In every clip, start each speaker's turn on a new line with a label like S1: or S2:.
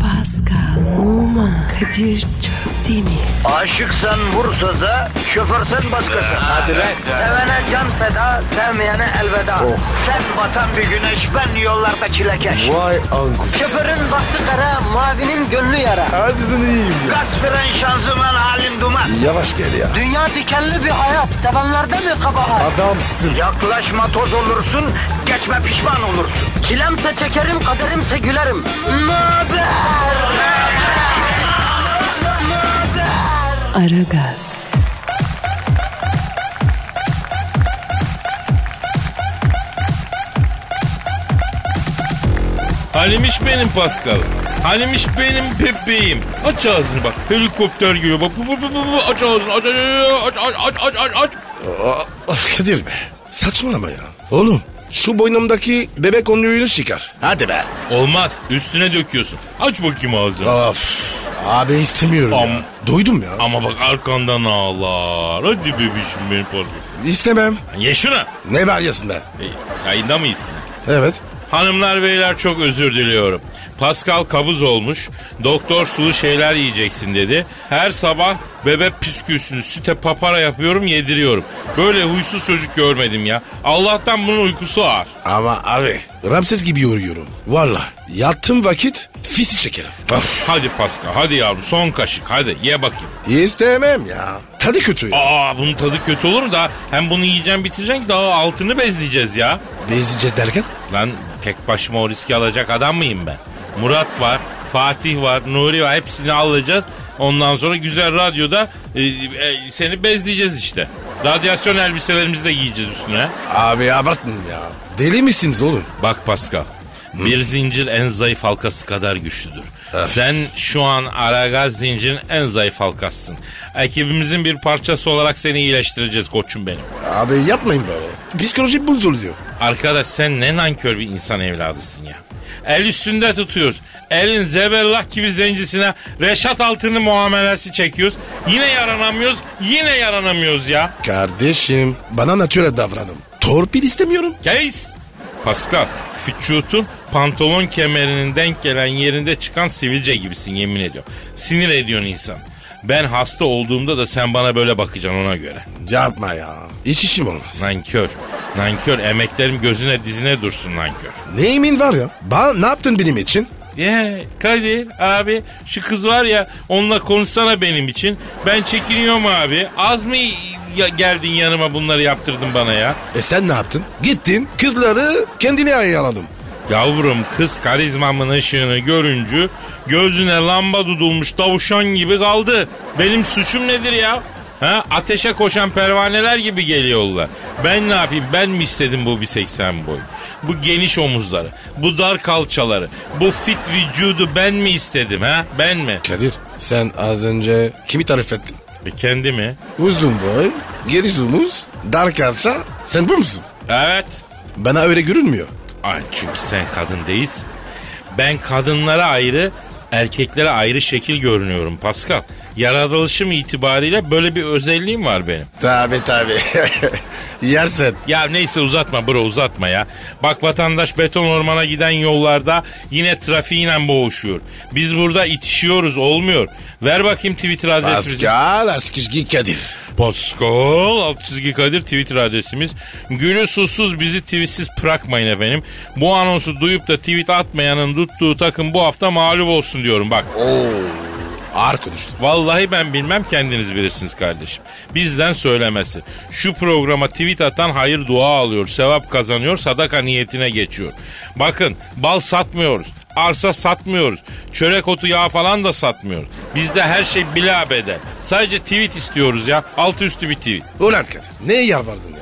S1: Pascal, Oman, Kadir çok değil mi?
S2: Aşıksan vursa da, şoförsen başkasın. Hadi
S3: lan.
S2: Sevene can feda, sevmeyene elveda. Sen batan bir güneş, ben yollarda çilekeş.
S3: Vay anku.
S2: Şoförün baktı kara, mavinin gönlü yara.
S3: Hadi sen iyiyim ya.
S2: Kasperen şanzıman halin duman.
S3: Yavaş gel ya.
S2: Dünya dikenli bir hayat, sevenlerde mi kabahar?
S3: Adamsın.
S2: Yaklaşma toz olursun, geçme pişman olursun. Çilemse çekerim, kaderimse gülerim. Möber!
S1: Aragaz,
S4: Halimiş benim Pascal. Halimiş benim bebeğim. Aç ağzını bak. Helikopter geliyor bak. Bu, bu, bu, bu, bu. Aç ağzını. Aç aç aç aç aç aç. aç.
S3: Aa, Of Kadir be. Saçmalama ya. Oğlum şu boynumdaki bebek onluğunu çıkar. Hadi be.
S4: Olmaz. Üstüne döküyorsun. Aç bakayım ağzını.
S3: Of. Abi istemiyorum
S4: Am-
S3: ya. Duydum ya.
S4: Ama bak arkandan ağlar. Hadi bebişim benim Pascal.
S3: İstemem.
S4: Ye şuna.
S3: Ne bağırıyorsun be?
S4: E, yayında mıyız ki?
S3: Evet.
S4: Hanımlar beyler çok özür diliyorum. Pascal kabız olmuş. Doktor sulu şeyler yiyeceksin dedi. Her sabah bebe püskürsünü süte papara yapıyorum yediriyorum. Böyle huysuz çocuk görmedim ya. Allah'tan bunun uykusu ağır.
S3: Ama abi. Ramses gibi yoruyorum. Valla. Yattığım vakit fisi çekerim. Of.
S4: Hadi Pascal hadi yavrum son kaşık hadi ye bakayım.
S3: İstemem ya. Tadı kötü ya.
S4: Aa bunun tadı kötü olur mu da hem bunu yiyeceğim bitireceksin ki daha altını bezleyeceğiz ya.
S3: Bezleyeceğiz derken?
S4: Lan tek başıma o riski alacak adam mıyım ben? Murat var, Fatih var, Nuri var hepsini alacağız. Ondan sonra güzel radyoda e, e, seni bezleyeceğiz işte. Radyasyon elbiselerimizi de giyeceğiz üstüne.
S3: Abi abartmayın ya. Deli misiniz oğlum?
S4: Bak Pascal. Bir zincir en zayıf halkası kadar güçlüdür. Sen şu an Aragaz zincirin en zayıf halkasısın. Ekibimizin bir parçası olarak seni iyileştireceğiz koçum benim.
S3: Abi yapmayın böyle. Psikoloji bozuluyor. diyor.
S4: Arkadaş sen ne nankör bir insan evladısın ya. El üstünde tutuyoruz. Elin zebellah gibi zencisine Reşat Altın'ı muamelesi çekiyoruz. Yine yaranamıyoruz. Yine yaranamıyoruz ya.
S3: Kardeşim bana natürel davranın. Torpil istemiyorum.
S4: Keis. Pascal, füçutun pantolon kemerinin denk gelen yerinde çıkan sivilce gibisin yemin ediyorum. Sinir ediyorsun insan. Ben hasta olduğumda da sen bana böyle bakacaksın ona göre.
S3: Yapma ya. Hiç işim olmaz.
S4: Nankör. Nankör emeklerim gözüne dizine dursun nankör.
S3: Neyimin var ya? Ba ne yaptın benim için?
S4: Ye Kadir abi şu kız var ya onunla konuşsana benim için. Ben çekiniyorum abi. Az mı ya- geldin yanıma bunları yaptırdın bana ya?
S3: E sen ne yaptın? Gittin kızları kendine ayarladım.
S4: Yavrum kız karizmamın ışığını görünce gözüne lamba tutulmuş tavşan gibi kaldı. Benim suçum nedir ya? Ha? Ateşe koşan pervaneler gibi geliyorlar. Ben ne yapayım? Ben mi istedim bu bir 80 boy? Bu geniş omuzları, bu dar kalçaları, bu fit vücudu ben mi istedim ha? Ben mi?
S3: Kadir sen az önce kimi tarif ettin?
S4: E kendi mi?
S3: Uzun boy, geniş omuz, dar kalça. Sen bu musun?
S4: Evet.
S3: Bana öyle görünmüyor.
S4: Ay çünkü sen kadın değilsin. Ben kadınlara ayrı, erkeklere ayrı şekil görünüyorum Pascal. Yaratılışım itibariyle böyle bir özelliğim var benim.
S3: Tabi tabi. Yersen.
S4: Ya neyse uzatma bro uzatma ya. Bak vatandaş beton ormana giden yollarda yine trafiğinle boğuşuyor. Biz burada itişiyoruz olmuyor. Ver bakayım Twitter adresimizi.
S3: Pascal Askizgi Kadir.
S4: Pascal alt çizgi Kadir Twitter adresimiz. Gülü susuz bizi tweetsiz bırakmayın efendim. Bu anonsu duyup da tweet atmayanın tuttuğu takım bu hafta mağlup olsun diyorum bak.
S3: Oo. Ağır konuştun.
S4: Vallahi ben bilmem kendiniz bilirsiniz kardeşim. Bizden söylemesi. Şu programa tweet atan hayır dua alıyor, sevap kazanıyor, sadaka niyetine geçiyor. Bakın bal satmıyoruz, arsa satmıyoruz, çörek otu yağı falan da satmıyoruz. Bizde her şey bila bedel. Sadece tweet istiyoruz ya, altı üstü bir tweet.
S3: Ulan Kadir neye yalvardın ya?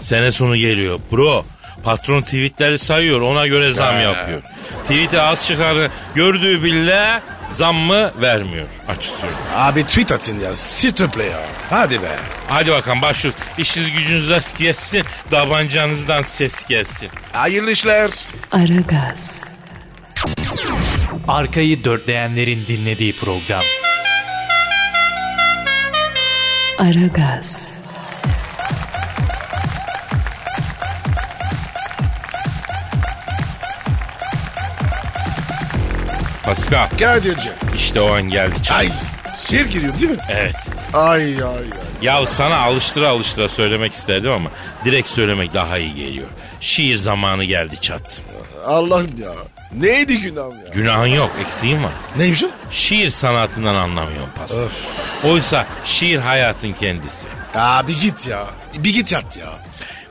S4: Sene sonu geliyor bro. Patron tweetleri sayıyor ona göre zam
S3: He.
S4: yapıyor. Tweet'e az çıkarı gördüğü bile zammı vermiyor açık söyleyeyim.
S3: Abi tweet atın ya. S'il te plaît ya. Hadi be.
S4: Hadi bakalım başlıyoruz. İşiniz gücünüz rast gelsin. Davancanızdan ses gelsin.
S3: Hayırlı işler.
S1: Aragaz,
S5: Arkayı dörtleyenlerin dinlediği program.
S1: Aragaz,
S4: Pascal
S3: Kadir'ciğim.
S4: işte o an geldi.
S3: Ay. Şiir giriyor değil mi?
S4: Evet.
S3: Ay ay ay.
S4: Ya sana alıştıra alıştıra söylemek isterdim ama direkt söylemek daha iyi geliyor. Şiir zamanı geldi çat.
S3: Allah'ım ya. Neydi günahım ya?
S4: Günahın yok, eksiğin var.
S3: Neymiş o?
S4: Şiir sanatından anlamıyorum Pascal. Oysa şiir hayatın kendisi.
S3: Ya bir git ya. Bir git yat ya.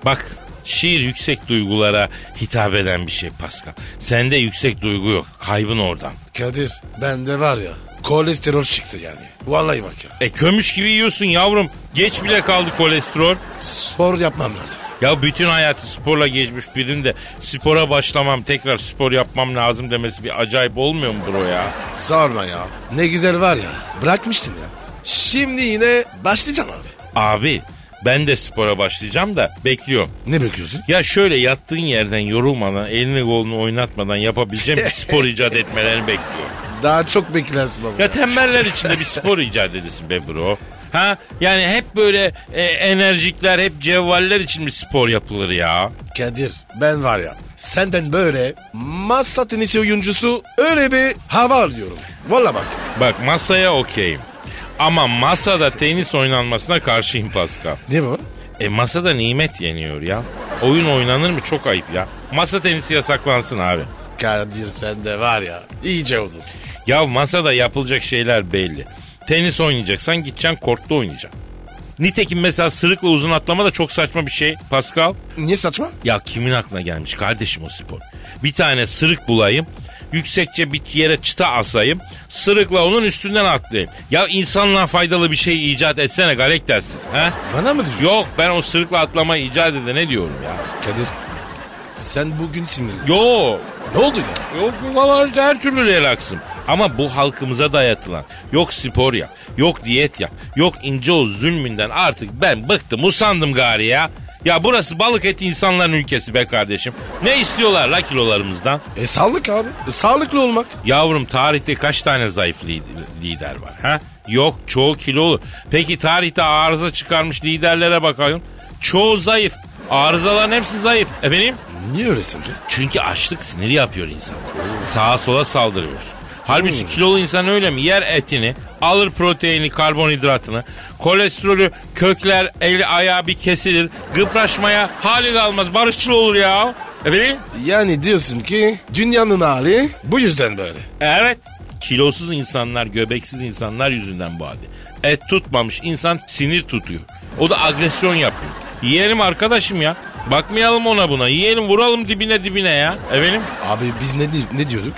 S4: Bak şiir yüksek duygulara hitap eden bir şey Pascal. Sende yüksek duygu yok. Kaybın oradan.
S3: Kadir bende var ya. Kolesterol çıktı yani. Vallahi bak ya.
S4: E kömüş gibi yiyorsun yavrum. Geç bile kaldı kolesterol.
S3: Spor yapmam lazım.
S4: Ya bütün hayatı sporla geçmiş birinin de spora başlamam tekrar spor yapmam lazım demesi bir acayip olmuyor mu bro ya?
S3: Sorma ya. Ne güzel var ya. Bırakmıştın ya. Şimdi yine başlayacağım abi.
S4: Abi ben de spora başlayacağım da bekliyorum.
S3: Ne bekliyorsun?
S4: Ya şöyle yattığın yerden yorulmadan elini kolunu oynatmadan yapabileceğim bir spor icat etmelerini bekliyorum.
S3: Daha çok beklersin baba.
S4: Ya tembeller içinde bir spor icat edilsin be bro. Ha yani hep böyle e, enerjikler hep cevvaller için bir spor yapılır ya.
S3: Kadir ben var ya. Senden böyle masa tenisi oyuncusu öyle bir hava alıyorum. Valla bak.
S4: Bak masaya okeyim. Ama masada tenis oynanmasına karşıyım Pascal.
S3: Ne bu?
S4: E masada nimet yeniyor ya. Oyun oynanır mı çok ayıp ya. Masa tenisi yasaklansın abi.
S3: Kadir sende var ya. İyice oldu.
S4: Ya masada yapılacak şeyler belli. Tenis oynayacaksan gideceksin kortta oynayacaksın. Nitekim mesela sırıkla uzun atlama da çok saçma bir şey Pascal.
S3: Niye saçma?
S4: Ya kimin aklına gelmiş kardeşim o spor? Bir tane sırık bulayım. Yüksekçe bir yere çıta asayım. Sırıkla onun üstünden atlayayım. Ya insanlığa faydalı bir şey icat etsene galek dersiz. Ha?
S3: Bana mı diyorsun?
S4: Yok ben o sırıkla atlamayı icat edene diyorum ya.
S3: Kadir sen bugün sinirlisin.
S4: Yok.
S3: Ne oldu ya?
S4: Yok valla her türlü relaksım. Ama bu halkımıza dayatılan yok spor yap, yok diyet yap, yok ince o zulmünden artık ben bıktım usandım gari ya. Ya burası balık eti insanların ülkesi be kardeşim. Ne istiyorlar la kilolarımızdan?
S3: E sağlık abi. E, sağlıklı olmak.
S4: Yavrum tarihte kaç tane zayıf li- lider var? Ha? Yok çoğu kilolu. Peki tarihte arıza çıkarmış liderlere bakalım. Çoğu zayıf. Arızaların hepsi zayıf. Efendim?
S3: Niye öyle sence?
S4: Çünkü açlık siniri yapıyor insan. Sağa sola saldırıyorsun. Halbuki kilolu insan öyle mi? Yer etini, alır proteini, karbonhidratını, kolesterolü kökler, eli ayağı bir kesilir. Gıpraşmaya hali kalmaz. Barışçıl olur ya. E Efendim?
S3: Yani diyorsun ki dünyanın hali bu yüzden böyle.
S4: Evet. Kilosuz insanlar, göbeksiz insanlar yüzünden bu halde. Et tutmamış insan sinir tutuyor. O da agresyon yapıyor. Yiyelim arkadaşım ya. Bakmayalım ona buna. Yiyelim vuralım dibine dibine ya. Efendim?
S3: Abi biz ne, ne diyorduk?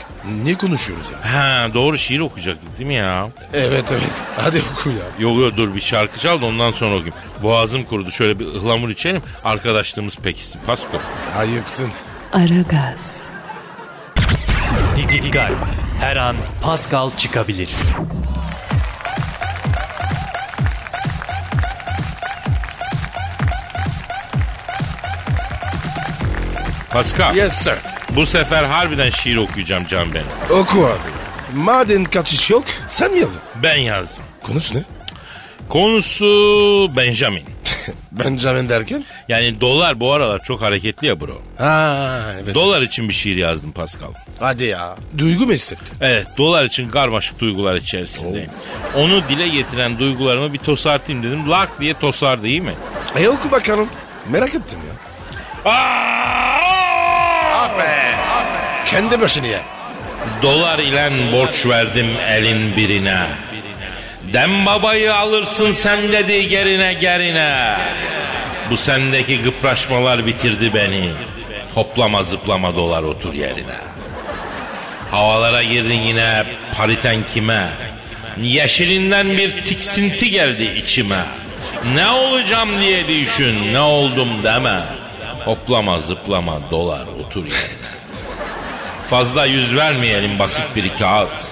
S3: Ne konuşuyoruz ya?
S4: Ha doğru şiir okuyacaktık değil mi ya?
S3: Evet evet. Hadi oku ya.
S4: Yok yok dur bir şarkı çal da ondan sonra okuyayım. Boğazım kurudu şöyle bir ıhlamur içelim. Arkadaşlığımız pekişsin. Pasko.
S3: Ayıpsın.
S1: Aragaz,
S5: Didi Digal. Her an Pascal çıkabilir.
S4: Pasko
S3: Yes sir.
S4: bu sefer harbiden şiir okuyacağım can benim.
S3: Oku abi. Madem kaçış yok sen mi yazın?
S4: Ben yazdım.
S3: Konusu ne?
S4: Konusu Benjamin.
S3: Benjamin derken?
S4: Yani dolar bu aralar çok hareketli ya bro.
S3: Ha evet.
S4: Dolar için bir şiir yazdım Pascal.
S3: Hadi ya. Duygu mu hissettin?
S4: Evet dolar için karmaşık duygular içerisindeyim. Onu dile getiren duygularımı bir tosartayım dedim. Lak diye tosardı değil mi?
S3: E oku bakalım. Merak ettim ya. Kendi başını ye.
S4: Dolar ile borç verdim elin birine. Dem babayı alırsın sen dedi gerine gerine. Bu sendeki gıpraşmalar bitirdi beni. Hoplama zıplama dolar otur yerine. Havalara girdin yine pariten kime? Yeşilinden bir tiksinti geldi içime. Ne olacağım diye düşün, ne oldum deme. Hoplama zıplama dolar otur yerine. Fazla yüz vermeyelim basit bir kağıt.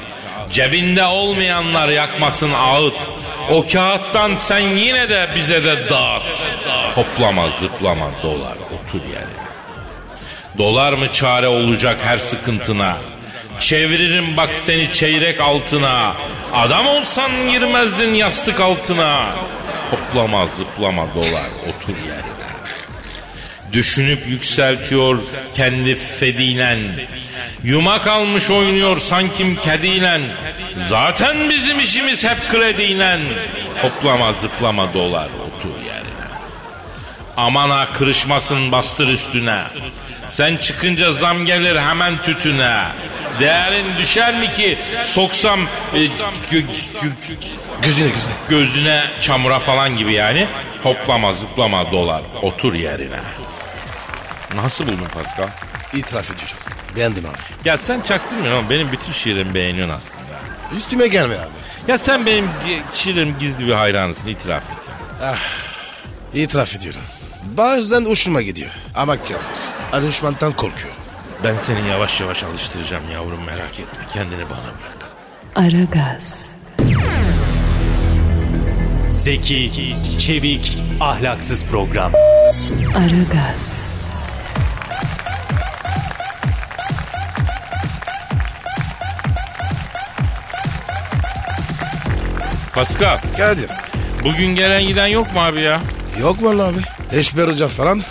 S4: Cebinde olmayanlar yakmasın ağıt. O kağıttan sen yine de bize de dağıt. Hoplama zıplama dolar otur yerine. Dolar mı çare olacak her sıkıntına? Çeviririm bak seni çeyrek altına. Adam olsan girmezdin yastık altına. Hoplama zıplama dolar otur yerine. Düşünüp yükseltiyor kendi fedilen. Yumak almış oynuyor sankim kediyle. Zaten bizim işimiz hep krediyle. Hoplama zıplama dolar otur yerine. Aman ha kırışmasın bastır üstüne. Sen çıkınca zam gelir hemen tütüne. Değerin düşer mi ki soksam e, gö- gö-
S3: Gözüne gözüne.
S4: gözüne çamura falan gibi yani. Hoplama zıplama dolar otur yerine. Nasıl buldun Pascal?
S3: İtiraf ediyorum. Beğendim abi.
S4: Ya sen çaktırmıyorsun ama benim bütün şiirimi beğeniyorsun aslında.
S3: Üstüme gelme abi.
S4: Ya sen benim gi- şiirim gizli bir hayranısın itiraf et.
S3: İtiraf ediyorum. Bazen hoşuma gidiyor. Ama Kadir. Alışmandan korkuyorum.
S4: Ben seni yavaş yavaş alıştıracağım yavrum merak etme kendini bana bırak.
S1: Aragaz,
S5: Zeki, çevik, ahlaksız program.
S1: Aragaz,
S4: Pascal
S3: Kadir.
S4: bugün gelen giden yok mu abi ya?
S3: Yok vallahi abi. Eşber Hoca falan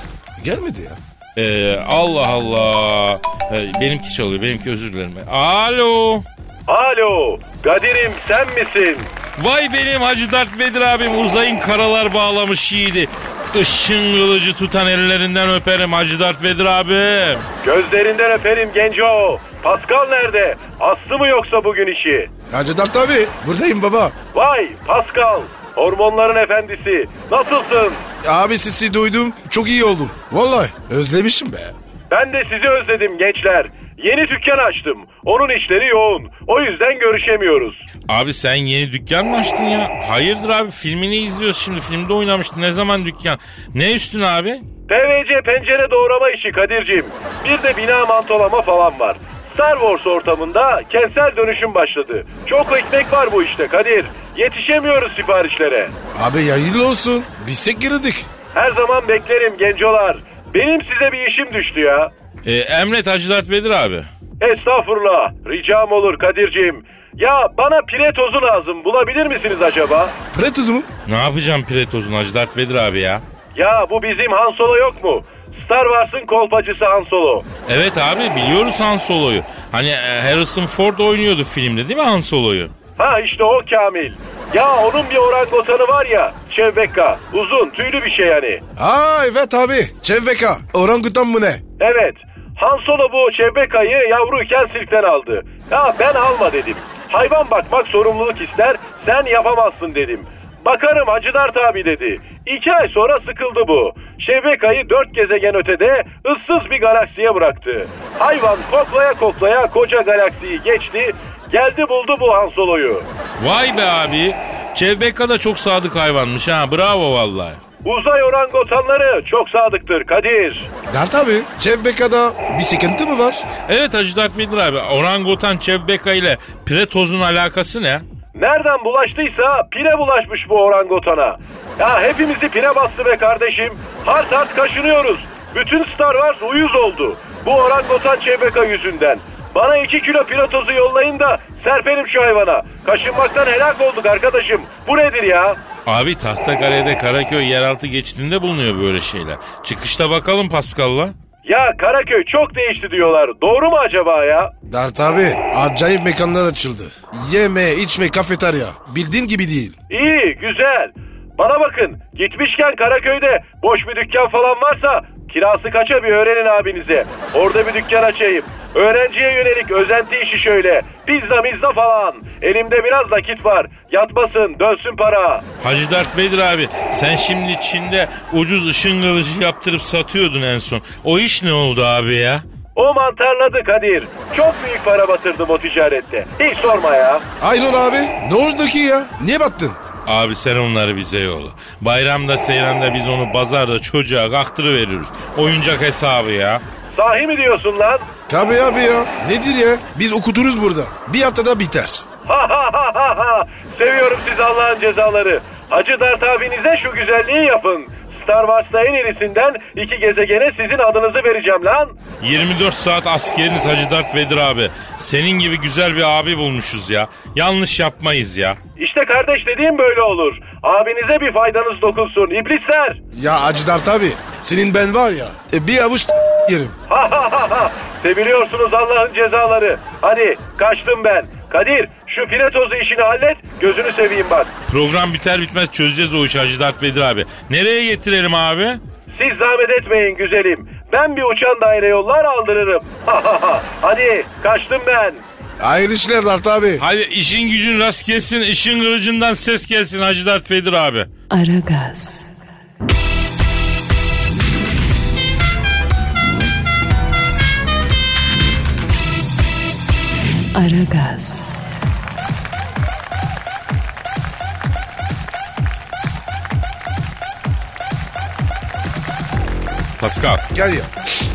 S3: gelmedi ya.
S4: Ee, Allah Allah. Ee, benimki çalıyor benimki özür dilerim. Alo.
S6: Alo, Kadir'im sen misin?
S4: Vay benim Hacı Dert Bedir abim uzayın karalar bağlamış yiğidi. Işın kılıcı tutan ellerinden öperim Hacı Dert Bedir abim.
S6: Gözlerinden öperim Genco. Pascal nerede? Aslı mı yoksa bugün işi?
S3: Hacı Dert abi buradayım baba.
S6: Vay Pascal, hormonların efendisi. Nasılsın?
S3: Abi sesi duydum çok iyi oldum. Vallahi özlemişim be.
S6: Ben de sizi özledim gençler. Yeni dükkan açtım. Onun işleri yoğun. O yüzden görüşemiyoruz.
S4: Abi sen yeni dükkan mı açtın ya? Hayırdır abi filmini izliyoruz şimdi filmde oynamıştı ne zaman dükkan? Ne üstüne abi?
S6: PVC pencere doğrama işi Kadir'cim. Bir de bina mantolama falan var. Star Wars ortamında kentsel dönüşüm başladı. Çok ekmek var bu işte Kadir. Yetişemiyoruz siparişlere.
S3: Abi yayınlı olsun. Bilsek girdik.
S6: Her zaman beklerim gencolar. Benim size bir işim düştü ya.
S4: Ee, emret Hacı Dert Bedir abi.
S6: Estağfurullah. Ricam olur Kadir'cim. Ya bana pire tozu lazım. Bulabilir misiniz acaba?
S3: Pre tuzu mu?
S4: Ne yapacağım pire tozunu Hacı Dert Bedir abi ya?
S6: Ya bu bizim Han Solo yok mu? Star Wars'ın kolpacısı Han Solo.
S4: Evet abi biliyoruz Han Solo'yu. Hani e, Harrison Ford oynuyordu filmde değil mi Han Solo'yu?
S6: Ha işte o Kamil. Ya onun bir orangutanı var ya. Çevbeka. Uzun tüylü bir şey yani.
S3: Aa evet abi. Çevbeka. Orangutan mı ne?
S6: Evet. Han Solo bu Çevbeka'yı yavruyken sirkten aldı. Ya ben alma dedim. Hayvan bakmak sorumluluk ister, sen yapamazsın dedim. Bakarım Hacı Dert abi dedi. İki ay sonra sıkıldı bu. Şevbeka'yı dört gezegen ötede ıssız bir galaksiye bıraktı. Hayvan koklaya koklaya koca galaksiyi geçti, geldi buldu bu Han Solo'yu.
S4: Vay be abi. Çevbeka da çok sadık hayvanmış ha bravo vallahi.
S6: Uzay orangotanları çok sadıktır Kadir.
S3: Dert abi. Çevbeka'da bir sıkıntı mı var?
S4: Evet Hacı Dert Bedir abi orangutan Çevbeka ile pire tozunun alakası ne?
S6: Nereden bulaştıysa pire bulaşmış bu orangotana. Ya hepimizi pire bastı be kardeşim. Hart hart kaşınıyoruz. Bütün Star Wars uyuz oldu. Bu orangotan Çebeka yüzünden. Bana iki kilo pire tozu yollayın da serpelim şu hayvana. Kaşınmaktan helak olduk arkadaşım. Bu nedir ya?
S4: Abi Tahtakale'de Karaköy yeraltı geçidinde bulunuyor böyle şeyler. Çıkışta bakalım Pascal'la.
S6: Ya Karaköy çok değişti diyorlar. Doğru mu acaba ya?
S3: Dert abi. Acayip mekanlar açıldı. Yeme, içme, kafeterya. Bildiğin gibi değil.
S6: İyi, güzel. Bana bakın, gitmişken Karaköy'de boş bir dükkan falan varsa kirası kaça bir öğrenin abinize. Orada bir dükkan açayım. Öğrenciye yönelik özenti işi şöyle. Pizza mizza falan. Elimde biraz nakit var. Yatmasın, dönsün para.
S4: Hacı Dert Bedir abi sen şimdi Çin'de ucuz ışın kılıcı yaptırıp satıyordun en son. O iş ne oldu abi ya?
S6: O mantarladı Kadir. Çok büyük para batırdım o ticarette. Hiç sorma ya.
S3: Ayrol abi. Ne oldu ki ya? Niye battın?
S4: Abi sen onları bize yolla. Bayramda seyranda biz onu pazarda çocuğa kaktırıveririz. Oyuncak hesabı ya.
S6: Sahi mi diyorsun lan?
S3: Tabii abi ya. Nedir ya? Biz okuturuz burada. Bir haftada biter.
S6: Ha ha ha ha ha. Seviyorum siz Allah'ın cezaları. Hacı Dert abinize şu güzelliği yapın. Star Wars'ta en irisinden iki gezegene sizin adınızı vereceğim lan.
S4: 24 saat askeriniz Hacı Dert Vedir abi. Senin gibi güzel bir abi bulmuşuz ya. Yanlış yapmayız ya.
S6: İşte kardeş dediğim böyle olur. Abinize bir faydanız dokunsun iblisler.
S3: Ya Acıdar tabi. Senin ben var ya e, bir avuç yerim.
S6: Seviliyorsunuz Allah'ın cezaları. Hadi kaçtım ben. Kadir şu file tozu işini hallet gözünü seveyim bak.
S4: Program biter bitmez çözeceğiz o işi Hacı Dert Vedir abi. Nereye getirelim abi?
S6: Siz zahmet etmeyin güzelim. Ben bir uçan daire yollar aldırırım. Hadi kaçtım ben.
S3: Hayırlı işler Dert abi.
S4: Hadi işin gücün rast gelsin, işin kılıcından ses gelsin Hacı Dert Vedir abi.
S1: Aragaz, Aragaz,
S4: Pascal,
S3: Gel ya.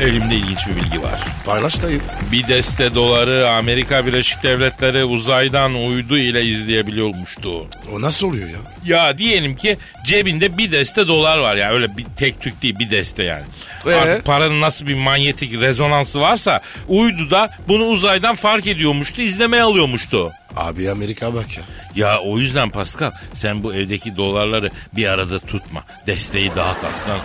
S4: elimde ilginç bir bilgi var.
S3: Paylaş dayı.
S4: Bir deste doları Amerika Birleşik Devletleri uzaydan uydu ile izleyebiliyormuştu.
S3: O nasıl oluyor ya?
S4: Ya diyelim ki cebinde bir deste dolar var yani öyle bir tek tük değil bir deste yani.
S3: Ee?
S4: Artık paranın nasıl bir manyetik rezonansı varsa uydu da bunu uzaydan fark ediyormuştu izlemeye alıyormuştu.
S3: Abi Amerika bak ya.
S4: Ya o yüzden Pascal sen bu evdeki dolarları bir arada tutma. Desteği dağıt aslan.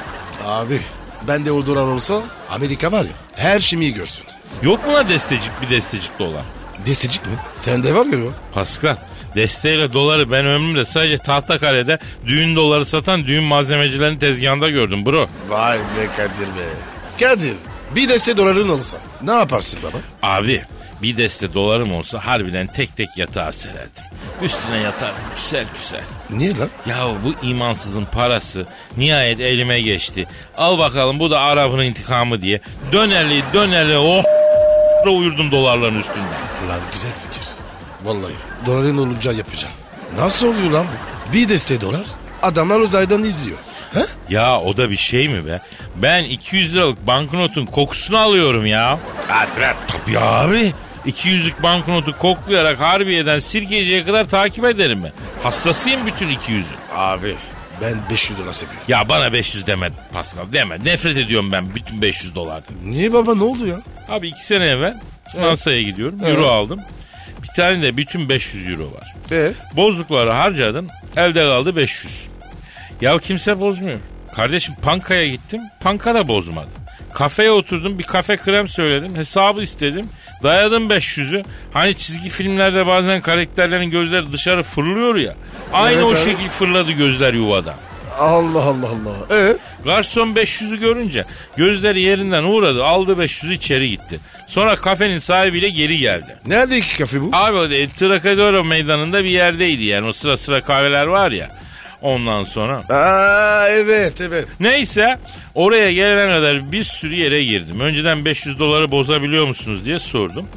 S3: Abi ben de o dolar olsa Amerika var ya her şeyi iyi görsün.
S4: Yok mu la destecik bir destecik dolar?
S3: Desecik mi? Sende var ya bu.
S4: Pascal desteyle doları ben ömrümde sadece Tahtakale'de düğün doları satan düğün malzemecilerinin tezgahında gördüm bro.
S3: Vay be Kadir be. Kadir bir deste doların olsa ne yaparsın baba?
S4: Abi bir deste dolarım olsa harbiden tek tek yatağa sererdim. Üstüne yatardım güzel güzel.
S3: Niye lan?
S4: Yahu bu imansızın parası nihayet elime geçti. Al bakalım bu da Arap'ın intikamı diye. Döneli döneli oh uyurdum dolarların üstünden.
S3: Lan güzel fikir. Vallahi doların olunca yapacağım. Nasıl oluyor lan bu? Bir deste dolar adamlar uzaydan izliyor. He?
S4: Ya o da bir şey mi be? Ben 200 liralık banknotun kokusunu alıyorum ya.
S3: Atlet.
S4: Tabii abi. 200'lük banknotu koklayarak harbiyeden sirkeciye kadar takip ederim ben. Hastasıyım bütün 200'ün.
S3: Abi ben 500 dolar seviyorum.
S4: Ya bana 500 deme Pascal deme. Nefret ediyorum ben bütün 500 dolardan.
S3: Niye baba ne oldu ya?
S4: Abi iki sene evvel Fransa'ya gidiyorum. Euro
S3: Evet.
S4: aldım. Bir tane de bütün 500 euro var.
S3: E?
S4: Bozukları harcadım. Elde kaldı 500. Ya kimse bozmuyor. Kardeşim pankaya gittim. Panka da bozmadı. Kafeye oturdum bir kafe krem söyledim. Hesabı istedim. Dayadım 500'ü. Hani çizgi filmlerde bazen karakterlerin gözleri dışarı fırlıyor ya. Aynı
S3: Evet
S4: o
S3: abi.
S4: şekil fırladı gözler yuvadan.
S3: Allah Allah Allah. E?
S4: Garson 500'ü görünce gözleri yerinden uğradı. Aldı 500'ü içeri gitti. Sonra kafenin sahibiyle geri geldi.
S3: Nerede iki kafe bu?
S4: Abi o da Trocadero meydanında bir yerdeydi yani. O sıra sıra kahveler var ya. Ondan sonra.
S3: Aa evet evet.
S4: Neyse oraya gelene kadar bir sürü yere girdim. Önceden 500 doları bozabiliyor musunuz diye sordum.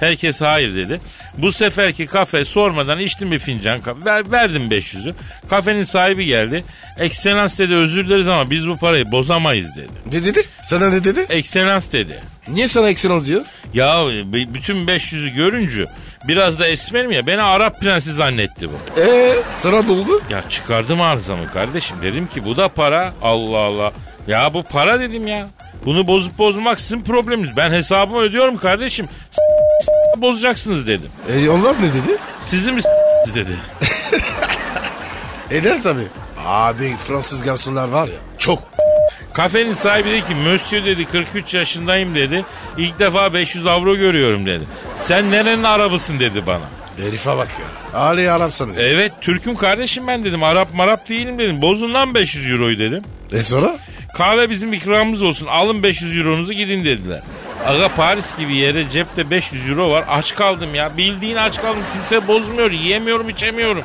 S4: Herkes hayır dedi. Bu seferki kafe sormadan içtim bir fincan kahve. Ver- verdim 500'ü. Kafenin sahibi geldi. Ekselans dedi özür dileriz ama biz bu parayı bozamayız dedi.
S3: Ne dedi? Sana ne dedi?
S4: Ekselans dedi.
S3: Niye sana eksen diyor?
S4: Ya b- bütün 500'ü görünce biraz da esmerim ya beni Arap prensi zannetti bu.
S3: Eee sana Ee, doldu.
S4: Ya çıkardım arızamı kardeşim dedim ki bu da para Allah Allah. Ya bu para dedim ya. Bunu bozup bozmak sizin probleminiz. Ben hesabımı ödüyorum kardeşim. S- s- bozacaksınız dedim.
S3: E, onlar ne dedi?
S4: Sizin mi s- dedi.
S3: Eder tabii. Abi Fransız garsonlar var ya çok.
S4: Kafenin sahibi dedi ki Monsieur dedi 43 yaşındayım dedi. İlk defa 500 avro görüyorum dedi. Sen nerenin arabısın dedi bana.
S3: Herife bak ya. Ali Arap sanıyor.
S4: Evet Türk'üm kardeşim ben dedim. Arap marap değilim dedim. Bozun lan 500 euroyu dedim.
S3: E sonra?
S4: Kahve bizim ikramımız olsun. Alın 500 euronuzu gidin dediler. Aga Paris gibi yere cepte 500 euro var. Aç kaldım ya. Bildiğin aç kaldım. Kimse bozmuyor. Yiyemiyorum içemiyorum.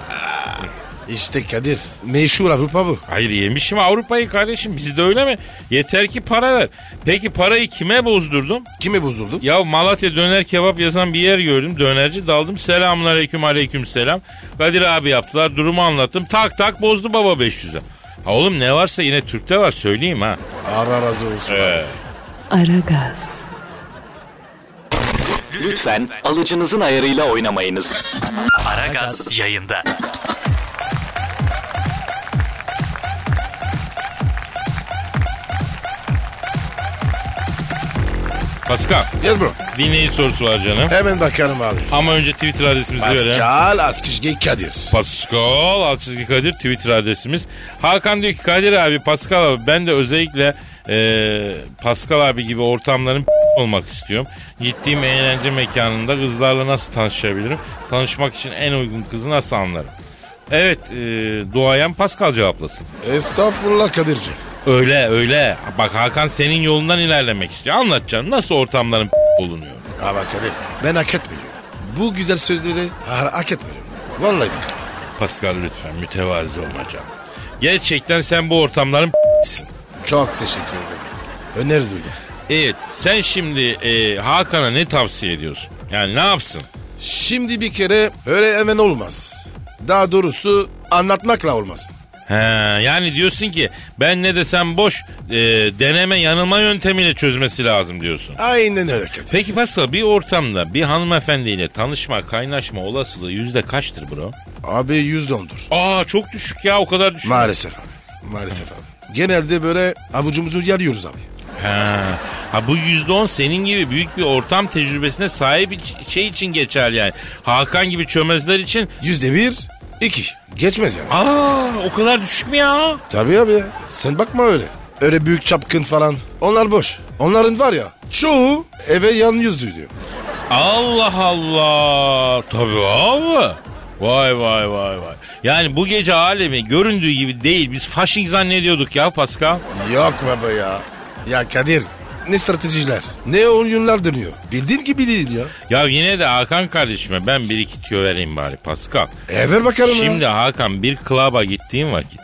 S3: İşte Kadir. Meşhur Avrupa bu.
S4: Hayır yemişim Avrupa'yı kardeşim. Bizde öyle mi? Yeter ki para ver. Peki parayı kime bozdurdum?
S3: Kime bozuldu?
S4: Ya Malatya döner kebap yazan bir yer gördüm. Dönerci daldım. Selamun aleyküm aleyküm selam. Kadir abi yaptılar. Durumu anlattım. Tak tak bozdu baba 500'e. Ha oğlum ne varsa yine Türk'te var söyleyeyim ha.
S3: Ara razı olsun.
S4: Ee,
S1: Aragaz,
S7: Lütfen alıcınızın ayarıyla oynamayınız.
S5: Aragaz yayında.
S4: Pascal
S3: Yaz bro.
S4: dinleyici sorusu var canım.
S3: Hemen bakarım abi.
S4: Ama önce Twitter adresimizi verelim.
S3: Pascal Askizgi Kadir.
S4: Pascal Alçızgi Kadir Twitter adresimiz. Hakan diyor ki Kadir abi Pascal abi ben de özellikle e, Pascal abi gibi ortamların olmak istiyorum. Gittiğim eğlence mekanında kızlarla nasıl tanışabilirim? Tanışmak için en uygun kızı nasıl anlarım? Evet e, duayen Pascal cevaplasın.
S3: Estağfurullah Kadir'ciğim.
S4: Öyle öyle. Bak Hakan senin yolundan ilerlemek istiyor. Anlatacağım nasıl ortamların bulunuyor.
S3: Ama Kadir ben hak etmiyorum. Bu güzel sözleri ha- hak etmiyorum. Vallahi bak.
S4: Pascal lütfen mütevazi olma canım. Gerçekten sen bu ortamların sin.
S3: Çok teşekkür ederim. Öner duydum.
S4: Evet sen şimdi e, Hakan'a ne tavsiye ediyorsun? Yani ne yapsın?
S3: Şimdi bir kere öyle hemen olmaz. Daha doğrusu anlatmakla olmaz.
S4: He, yani diyorsun ki ben ne desem boş e, deneme yanılma yöntemiyle çözmesi lazım diyorsun.
S3: Aynen öyle Kadir.
S4: Peki Pascal bir ortamda bir hanımefendiyle tanışma kaynaşma olasılığı yüzde kaçtır bro?
S3: Abi yüzde ondur.
S4: Aa çok düşük ya o kadar düşük.
S3: Maalesef abi. Maalesef abi. Genelde böyle avucumuzu yarıyoruz abi.
S4: Ha, ha bu yüzde on senin gibi büyük bir ortam tecrübesine sahip iç- şey için geçerli yani. Hakan gibi çömezler için.
S3: Yüzde bir, iki. Geçmez yani.
S4: Aa o kadar düşük mü ya?
S3: Tabii abi ya. Sen bakma öyle. Öyle büyük çapkın falan. Onlar boş. Onların var ya çoğu eve yan yüzlü diyor.
S4: Allah Allah. Tabii abi. Vay vay vay vay. Yani bu gece alemi göründüğü gibi değil. Biz faşing zannediyorduk ya Pascal.
S3: Yok baba ya. Ya Kadir ne stratejiler ne oyunlar dönüyor. Bildiğin gibi değil ya.
S4: Ya yine de Hakan kardeşime ben bir iki tüyo vereyim bari Pascal.
S3: E ver bakalım ya.
S4: Şimdi Hakan bir klaba gittiğin vakit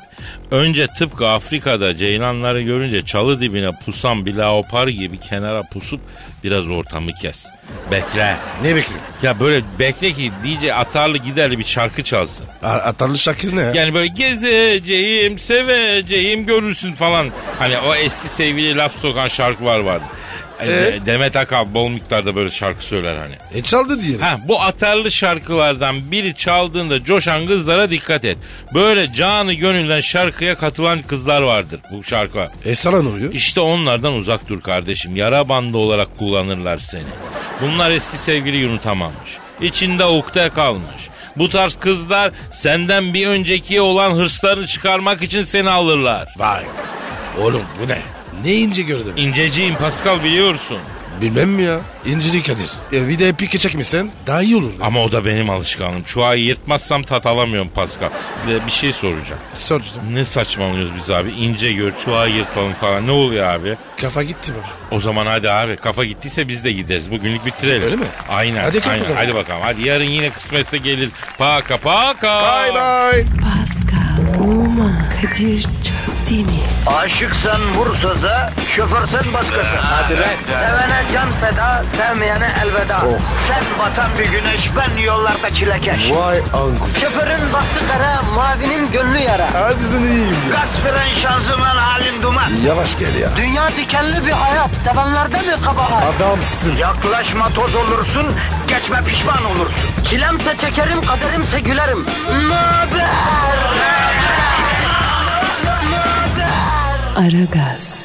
S4: önce tıpkı Afrika'da ceylanları görünce çalı dibine pusan bir leopar gibi kenara pusup biraz ortamı kes. Bekle.
S3: Ne bekliyorsun?
S4: Ya böyle bekle ki DJ atarlı giderli bir şarkı çalsın.
S3: A- Atarlı Şakir ne ya?
S4: Yani böyle gezeceğim, seveceğim görürsün falan. Hani o eski sevgili laf sokan şarkılar vardı. E,
S3: Ee?
S4: Demet Akal bol miktarda böyle şarkı söyler hani.
S3: E çaldı diyelim.
S4: Ha, bu atarlı şarkılardan biri çaldığında coşan kızlara dikkat et. Böyle canı gönülden şarkıya katılan kızlar vardır bu şarkılar.
S3: E sana ne oluyor?
S4: İşte onlardan uzak dur kardeşim. Yara bandı olarak kullanırlar seni. Bunlar eski sevgili unutamamış. İçinde ukde kalmış. Bu tarz kızlar senden bir öncekiye olan hırslarını çıkarmak için seni alırlar.
S3: Vay. Oğlum bu ne? Ne ince gördüm.
S4: İnceciyim Pascal biliyorsun.
S3: Bilmem mi ya? İncili Kadir. E bir de pike çekmişsen daha iyi olur.
S4: Ama o da benim alışkanlığım. Çuhayı yırtmazsam tat alamıyorum Pascal. Ee, Bir şey soracağım.
S3: Sor.
S4: Ne saçmalıyoruz biz abi? İnce gör, çuha yırtalım falan. Ne oluyor abi?
S3: Kafa gitti baba.
S4: O zaman hadi abi kafa gittiyse biz de gideriz. Bugünlük bitirelim.
S3: Öyle mi?
S4: Aynen.
S3: Hadi kalk o
S4: aynen.
S3: zaman.
S4: hadi bakalım. Hadi yarın yine kısmetse gelir. Paka paka.
S3: Bye bye.
S1: Pascal, Oman, Kadir çok değil mi?
S2: Aşıksan vursa da, şoförsen başkasın. Hadi Sevene can feda, sevmeyene elveda. Sen batan bir güneş, ben yollarda çilekeş.
S3: Vay anku.
S2: Şoförün baktı kara, mavinin gönlü yara.
S3: Hadi sen iyiyim ya.
S2: Kasperen şanzıman halin duman.
S3: Yavaş gel ya.
S2: Dünya dikenli bir hayat, sevenlerde mi kabahar?
S3: Adamsın.
S2: Yaklaşma toz olursun, geçme pişman olursun. Çilemse çekerim, kaderimse gülerim. Möber!
S1: Aragaz.